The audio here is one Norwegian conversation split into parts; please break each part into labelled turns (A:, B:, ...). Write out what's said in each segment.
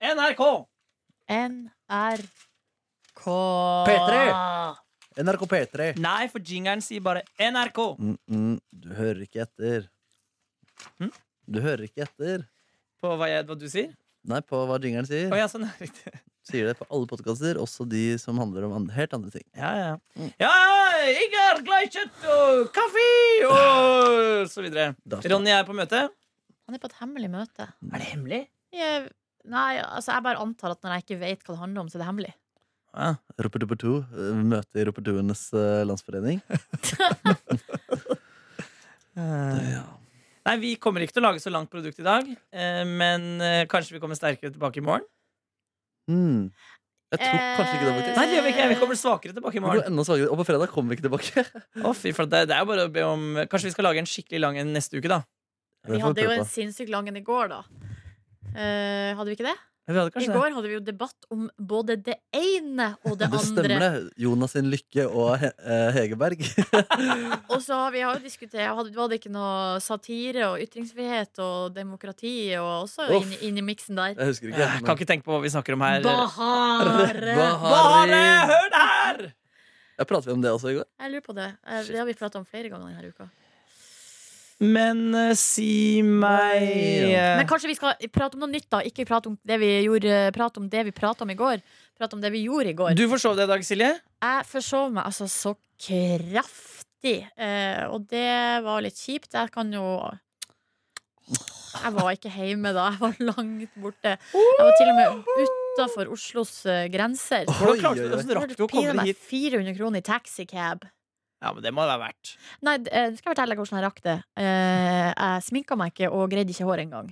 A: NRK!
B: NRK.
C: P3. NRK P3.
A: Nei, for jingeren sier bare NRK.
C: Mm -mm, du hører ikke etter.
A: Hm?
C: Du hører ikke etter.
A: På hva, jeg, hva du sier?
C: Nei, på hva jingeren sier.
A: Å ja, sånn er riktig.
C: Sier det på alle podkaster, også de som handler om andre, helt andre ting.
A: Ja, ja. ja jeg er glad i kjøtt og kaffe og så videre.
C: Da står-
A: Ronny er på møte.
B: Han er på et hemmelig møte.
A: Er det hemmelig?
B: Jeg, nei, altså jeg bare antar at når jeg ikke vet hva det handler om, så er det hemmelig.
A: Ja.
C: Robert Dupper 2 eh, møter Robert Duenes eh, landsforening. Ja.
A: Nei, vi kommer ikke til å lage så langt produkt i dag, eh, men eh, kanskje vi kommer sterkere tilbake i morgen?
C: Mm. Jeg tror
B: Eh,
C: kanskje ikke det, faktisk.
A: Nei, det gjør vi ikke. Vi kommer svakere tilbake i
C: Vi går
A: morgen.
C: enda svakere. Og på fredag kommer vi ikke tilbake.
A: Å, fy, flate. det, det er jo bare å be om Kanskje vi skal lage en skikkelig lang en neste uke, da.
B: Vi hadde jo en sinnssykt lang en i går, da. Eh, hadde vi ikke det?
A: Vi hadde
B: I
A: kanskje det.
B: går hadde vi jo debatt om både det ene og det,
C: det stemmer,
B: andre.
C: det. Jonas sin Lykke og He eh, Hegerberg.
B: Og så har vi har jo diskutert hadde, Var det ikke noe satire og ytringsfrihet og demokrati og også
C: Uff.
B: inn, inn i miksen der?
C: Jeg husker ikke.
A: Jeg Eh, kan ikke tenke på hva vi snakker om her.
B: Bahare!
A: Bare
C: Bahari!
A: hør det her!
C: Jeg pratet vi om det også i går.
B: Jeg lurer på det. Eh, Det har vi prata om flere ganger denne uka.
A: Men eh, si meg eh,
B: Men kanskje vi skal prate om noe nytt, da. Ikke prate om det vi gjorde Prate om det vi prata om i går. Prate om det vi gjorde i går.
A: Du forsov deg i dag, Silje.
B: Jeg forsov meg altså så kraftig, eh, og det var litt kjipt. Jeg kan jo Jeg var ikke hjemme da. Jeg var langt borte. Jeg var til og med utafor Oslos eh, grenser.
A: Hvordan klarte du
C: Oi, oi, oi.
A: Hvordan rakk du å
B: Pina
A: komme deg
B: meg
A: hit?
B: 400 kroner i taxicab.
A: Ja, men Det må det være verdt.
B: Nei, d- eh, skal jeg fortelle deg hvordan jeg rakk det. Eh, jeg sminka meg ikke og greide ikke håret engang.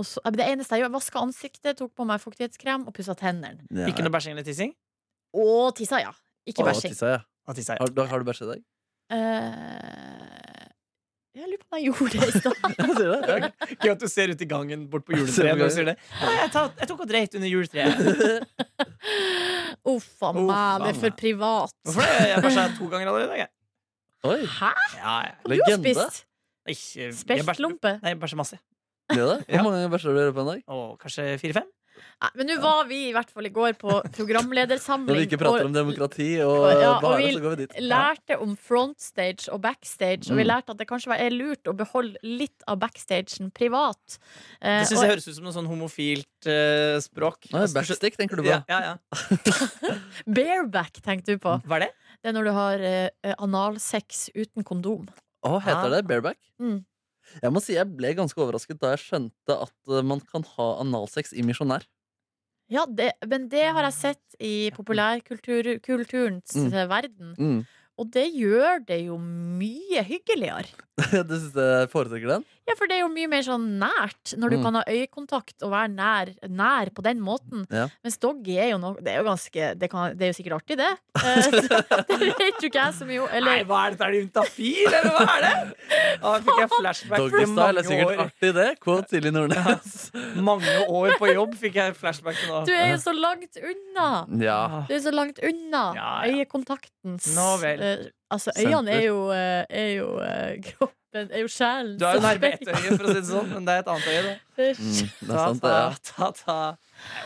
B: Og så, eh, det eneste jeg gjorde, vaska ansiktet, tok på meg fuktighetskrem og pussa tennene.
C: Ja,
A: Ikke
C: ja.
A: noe bæsjing eller tissing?
B: Og tissa, ja. Ikke
C: Å,
B: bæsjing.
C: tissa, ja.
A: Ah, tissa, ja.
C: Har, da- har du bæsja i dag?
B: Eh, jeg lurer på om jeg gjorde det i stad.
C: Jeg sier det. Ja.
A: Gøy at du ser ut i gangen bort på
C: Ser du
A: juletreet når du
C: gangen?
A: sier det. Nei, jeg, tar, jeg tok og dreit under juletreet.
B: Uff
A: Uff
B: a
A: a
B: meg, det er for
A: meg.
B: privat.
A: Hvorfor det? Jeg bæsja to ganger allerede i dag. jeg.
C: Oi,
B: Hæ?
A: Ja, ja.
B: Har du
C: legende.
B: spist
A: Ikke- jeg bæsjer-
B: speltlompe?
A: Nei, jeg bæsjer masse.
C: Gjør det? Hvor
A: Ja.
C: mange ganger bæsjer du i løpet av en dag?
A: Å, kanskje fire-fem?
B: Nei, Men nå var vi i hvert fall i går på
C: Når vi
B: programledersamling
C: ikke prater om demokrati og
B: Ja, og
C: Bahare,
B: vi-
C: så går vi dit.
B: lærte om frontstage og backstage, og vi
C: Mm.
B: lærte at det kanskje var- er lurt å beholde litt av backstagen privat. Eh,
A: Det syns
B: og-
A: jeg høres ut som noe sånn homofilt eh, språk.
C: Nei, Backstick, tenker du på?
A: Ja, ja, ja.
B: Bareback, tenkte du på.
A: Hva er det?
B: Det er når du har eh, analsex uten kondom.
C: Å, heter det bareback?
B: Mm.
C: Jeg må si jeg ble ganske overrasket da jeg skjønte at eh, man kan ha analsex i misjonær.
B: Ja, det, men det har jeg sett i populærkulturens
C: Mm.
B: eh, verden.
C: Mm.
B: Og det gjør det jo mye hyggeligere.
C: du syns jeg foretrekker den?
B: Ja, for det er jo mye mer sånn nært, når du
C: Mm.
B: kan ha øyekontakt og være nær, nær på den måten.
C: Ja.
B: Mens doggy er jo noe Det er jo ganske Det, kan, det er jo sikkert artig, det. Eh, så- det vet jo ikke jeg så mye om.
A: Nei,
B: Eller
A: hva er dette? Er det juntafil, eller hva er det? Å, jeg fikk jeg flashback til
C: Doggystyle er
A: mange
C: sikkert
A: år.
C: artig, det. Quote Silje Nordnes.
A: Mange år på jobb fikk jeg flashback til
B: du
A: nå.
B: er jo så langt unna!
C: Ja.
A: Ah,
B: Du er så langt unna
A: Ja, ja.
B: øyekontaktens
A: Nå vel.
B: eh, Altså,
C: Senter.
B: øynene er jo, eh, er jo eh, kroppen Er jo sjelen.
A: Du er jo
B: som
A: nærme ett
B: veier.
A: øye, for å si det sånn, men det er et annet øye. det.
C: Mm, det er
A: Ta,
C: sant, det.
A: ta,
C: Ja.
A: ta, ta.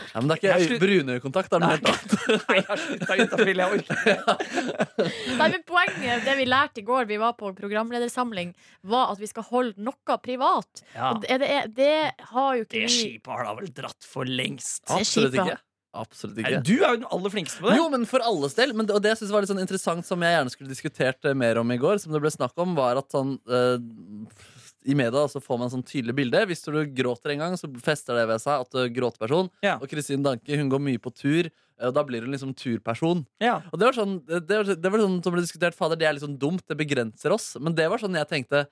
C: Ja, men det
A: Jeg
C: er
A: slutt-
C: ikke brunøyekontakt. Det er noe helt annet.
A: Nei, jeg har slutta juntafil. Jeg orker ikke.
B: Nei,
A: Mm.
B: men Poenget, det vi lærte i går, vi var på programledersamling, var at vi skal holde noe privat.
A: Ja,
B: Og det, det, det har jo ikke
A: det
B: vi-
A: skipet har da vel dratt for lengst.
B: Det er
C: Absolutt
B: kjipt, da.
C: ikke. Absolutt
A: Nei,
C: ikke.
A: Du er jo den aller flinkeste på det.
C: Jo, men for alles del. Men det, og det jeg synes var litt sånn interessant, som jeg gjerne skulle diskutert eh, mer om i går, som det ble snakk om, var at sånn eh, I media så får man sånn tydelig bilde. Hvis du gråter en gang, så fester det ved seg at du er gråteperson.
A: Ja.
C: Og Kristin Danke hun går mye på tur, eh, og da blir hun liksom turperson.
A: Ja.
C: Og det var sånn, det var, det var sånn som ble diskutert, fader, det er liksom dumt, det begrenser oss. Men det var sånn jeg tenkte,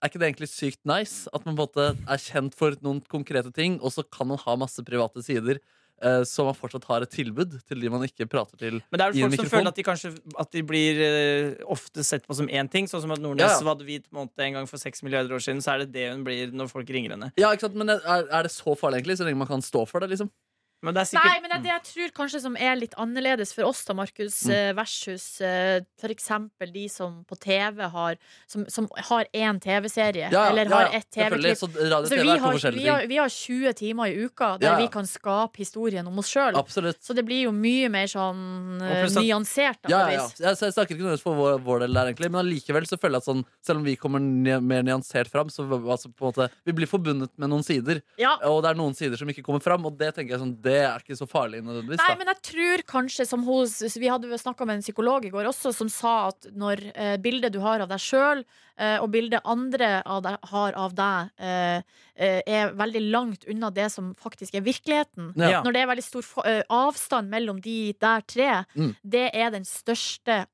C: er ikke det egentlig sykt nice? At man på en måte er kjent for noen konkrete ting, og så kan man ha masse private sider. eh, Så man fortsatt har et tilbud til de man ikke prater til.
A: Men det er
C: I
A: vel folk
C: en
A: som
C: mikrofon.
A: føler at de kanskje At de blir eh, ofte sett på som én ting. Sånn som at Nordnes
C: Ja, ja.
A: var hvit måned en gang for seks milliarder år siden. Så er det det hun blir når folk ringer henne.
C: Ja, ikke sant? Men er, er det så farlig, egentlig? Så lenge man kan stå for det, liksom.
A: Men det er sikkert
B: Nei, men det, er det jeg tror kanskje som er litt annerledes for oss da, Markus,
C: Mm.
B: eh, versus eh, for eksempel de som på TV har Som, som har én TV-serie,
C: Ja, ja,
B: eller
C: ja, ja,
B: har ett TV-klipp.
C: selvfølgelig. Sånn Så radio og
B: Altså,
C: TV
B: vi,
C: er to
B: har, vi,
C: forskjellige
B: har,
C: ting.
B: vi har 20 timer i uka der
C: Ja, ja.
B: vi kan skape historien om oss sjøl.
C: Absolutt.
B: Så det blir jo mye mer sånn eh,
A: Og pluss at-
B: nyansert. Da,
C: Ja,
B: på
C: ja, ja.
B: vis.
C: Jeg, så jeg snakker ikke nødvendigvis for vår, vår del der, egentlig, men allikevel så føler jeg at sånn, selv om vi kommer nye- mer nyansert fram, så v- altså, på en måte, vi blir forbundet med noen sider.
B: Ja.
C: Og det er noen sider som ikke kommer fram, og det tenker jeg sånn, det er ikke så farlig nødvendigvis.
B: Nei,
C: Da.
B: men jeg tror kanskje som hos, Vi hadde snakka med en psykolog i går også, som sa at når eh, bildet du har av deg sjøl, eh, og bildet andre av deg, har av deg, eh, eh, er veldig langt unna det som faktisk er virkeligheten
C: Ja.
A: Ja.
B: Når det er veldig stor for, eh, avstand mellom de der tre,
C: Mm.
B: det er den største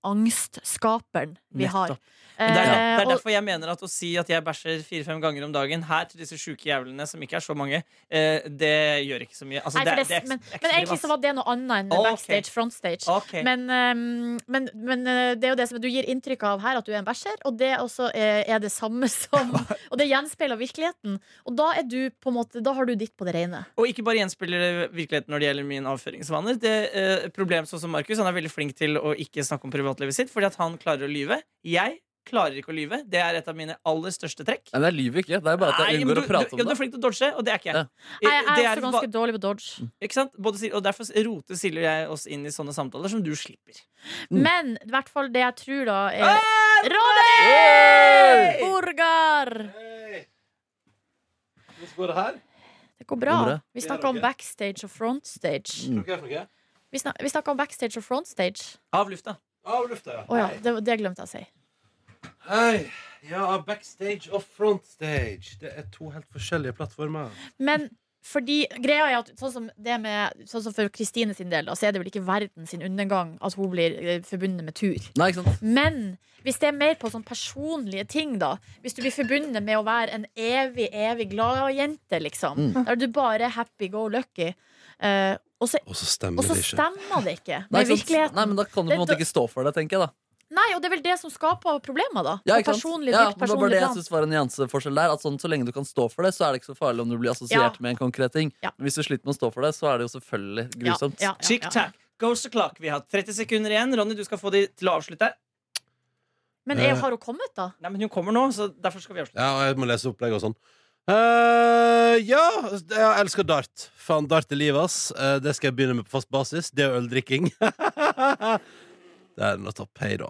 B: angstskaperen vi har.
A: Nettopp. Men Det er, det
B: Eh,
A: er
B: og-
A: derfor altså, jeg mener at å si at jeg bæsjer fire-fem ganger om dagen her til disse sjuke jævlene, som ikke er så mange, eh, det gjør ikke så mye. Altså,
B: Nei,
A: det,
B: for
A: det,
B: det,
A: er
B: men,
A: ikke- det er ikke
B: men
A: så
B: egentlig så
A: mye,
B: var det noe annet enn
A: Å, ok.
B: backstage,
A: ass.
B: frontstage.
A: Ok.
B: Men, ehm, men, men eh, det er jo det som du gir inntrykk av her, at du er en bæsjer. Og det også eh, er det samme som Og det gjenspeiler virkeligheten. Og da er du på en måte Da har du ditt på det rene.
A: Og ikke bare gjenspeiler det virkeligheten når det gjelder mine avføringsvaner. Det eh, problem sånn som Markus, han er veldig flink til å ikke snakke om privatlivet sitt, fordi at han klarer å lyve. Jeg klarer ikke å lyve. Det er et av mine aller største trekk.
C: Nei, men jeg lyver ikke. Det er bare at jeg
A: Nei, men
C: unngår
A: du,
C: å
A: du,
C: prate
A: ja,
C: om
A: du
C: det.
A: er flink til å dodge, og det er Mm. ikke jeg.
C: Ja.
B: Jeg, jeg er
A: Det
B: også ganske dårlig på dodge.
A: ikke sant? Både, Silje- og Derfor roter Silje og jeg oss inn i sånne samtaler som du slipper.
C: Mm.
B: Men i hvert fall det jeg tror, da, er
A: Ah!
B: Ronny! Borgar!
D: Hvordan går det her?
B: Det går bra.
C: Går bra.
B: Vi snakka om backstage og frontstage.
C: Mm.
D: Tror ikke jeg, tror ikke jeg.
B: Vi snak- vi snakka om backstage og frontstage.
A: Av lufta.
D: Av lufta, ja.
B: Å ja, det, det glemte jeg å si.
D: Hei. Ja, backstage og frontstage. Det er to helt forskjellige plattformer.
B: Men fordi greia er at sånn som, det med, sånn som for Kristine sin del, da, så er det vel ikke verden sin undergang at hun blir eh, forbundet med tur.
C: Nei, ikke sant?
B: Men hvis det er mer på sånn personlige ting, da Hvis du blir forbundet med å være en evig, evig glad jente, liksom,
C: Mm.
B: der du bare er happy go lucky, eh, og så,
D: Og så stemmer
B: og så
D: det ikke.
B: stemmer det ikke
C: Nei,
B: med
C: ikke sant?
B: virkeligheten.
C: Nei, men da kan du på en
B: Det-
C: måte ikke stå for det, tenker jeg da.
B: Nei, og det er vel det som skaper problemer, da.
C: Ja,
B: på
C: ikke sant?
B: personlig,
C: ja, det var bare
B: dypt personlig
C: det jeg
B: plan.
C: synes var en nyanseforskjell der. At sånn, så lenge du kan stå for det, så er det ikke så farlig om du blir assosiert
B: Ja.
C: med en konkret ting.
B: Ja.
C: Men hvis du sliter med å stå for det, så er det jo selvfølgelig grusomt.
B: Ja, ja,
A: Chick
B: ja, ja.
A: tack. Goes the clock. Vi har 30 sekunder igjen. Ronny, du skal få de til å avslutte.
B: Men er, har hun kommet, da?
A: Nei, men hun kommer nå, så derfor skal vi avslutte.
D: Ja, og jeg må lese opplegget og sånn. Eh, ja, jeg elsker dart. Faen, dart er livet, ass. Eh, det skal jeg begynne med på fast basis. Det og øldrikking. det er not up, hei, da.